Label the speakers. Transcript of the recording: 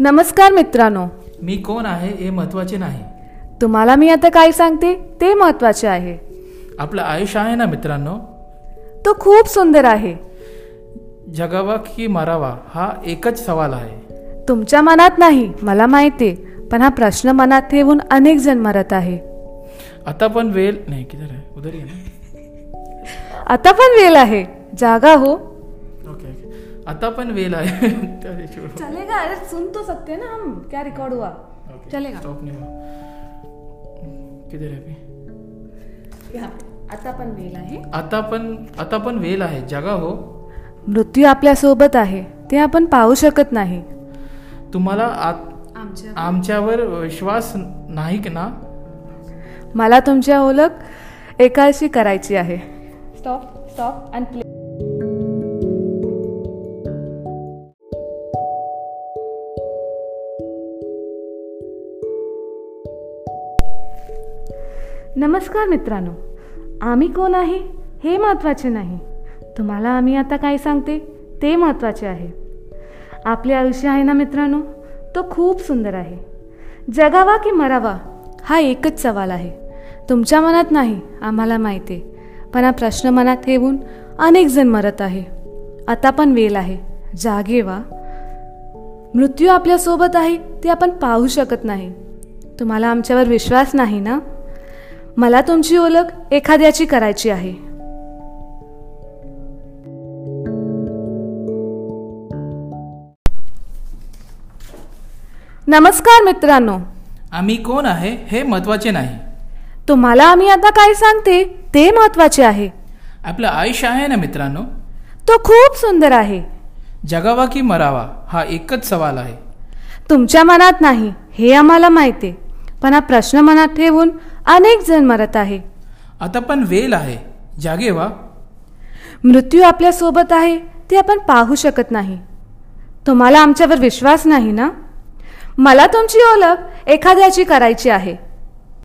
Speaker 1: नमस्कार मित्रांनो
Speaker 2: मी कोण आहे हे महत्त्वाचे नाही
Speaker 1: तुम्हाला मी आता काय सांगते ते महत्त्वाचे आहे
Speaker 2: आपलं आयुष्य आहे ना मित्रांनो
Speaker 1: तो खूप सुंदर आहे
Speaker 2: जगावा की मरावा हा एकच सवाल आहे
Speaker 1: तुमच्या मनात नाही मला माहिती पण हा प्रश्न मनात ठेवून अनेक जण मरत आहे
Speaker 2: आता पण वेळ नाही किती आहे उधर ये ना
Speaker 1: आता पण वेळ आहे जागा हो
Speaker 2: ओके ओके आता पण वेळ आहे त्या दिवशी बोलू.
Speaker 1: चलेगा अरे सुन तो सकते ना हम क्या रिकॉर्ड हुआ
Speaker 2: ओके,
Speaker 1: चलेगा.
Speaker 2: stop नाही हुआ. किधर आहे अभी?
Speaker 1: आता पण वेळ आहे
Speaker 2: आता पण आता पण वेळ आहे जगा हो
Speaker 1: मृत्यू आपल्या सोबत आहे ते आपण पाहू शकत नाही
Speaker 2: तुम्हाला आत आमच्यावर विश्वास नाही की ना
Speaker 1: मला तुमच्या ओळख एकाशी करायची आहे स्टॉप स्टॉप अँड प्ले नमस्कार मित्रांनो आम्ही कोण आहे हे महत्त्वाचे नाही तुम्हाला आम्ही आता काय सांगते ते महत्त्वाचे आहे आपले आयुष्य आहे ना मित्रांनो तो खूप सुंदर आहे जगावा की मरावा हा एकच सवाल आहे तुमच्या मनात नाही आम्हाला माहिती आहे. पण हा प्रश्न मनात ठेवून अनेक जण मरत आहे आता पण वेळ आहे जागे वा मृत्यू आपल्यासोबत आहे ते आपण पाहू शकत नाही तुम्हाला आमच्यावर विश्वास नाही ना मला तुमची ओळख एखाद्याची करायची आहे नमस्कार मित्रांनो
Speaker 2: आम्ही कोण आहे हे महत्त्वाचे नाही
Speaker 1: तुम्हाला आम्ही आता काय सांगते ते महत्त्वाचे आहे
Speaker 2: आपलं आयुष्य आहे ना मित्रांनो
Speaker 1: तो खूप सुंदर आहे
Speaker 2: जगावा की मरावा हा एकच सवाल आहे
Speaker 1: तुमच्या मनात नाही हे आम्हाला माहिती पण हा प्रश्न मनात ठेवून अनेक जण मरत आहे
Speaker 2: आता पण वेल आहे जागे व्हा
Speaker 1: मृत्यू आपल्यासोबत आहे ते आपण पाहू शकत नाही तुम्हाला आमच्यावर विश्वास नाही ना मला तुमची ओळख एखाद्याची करायची आहे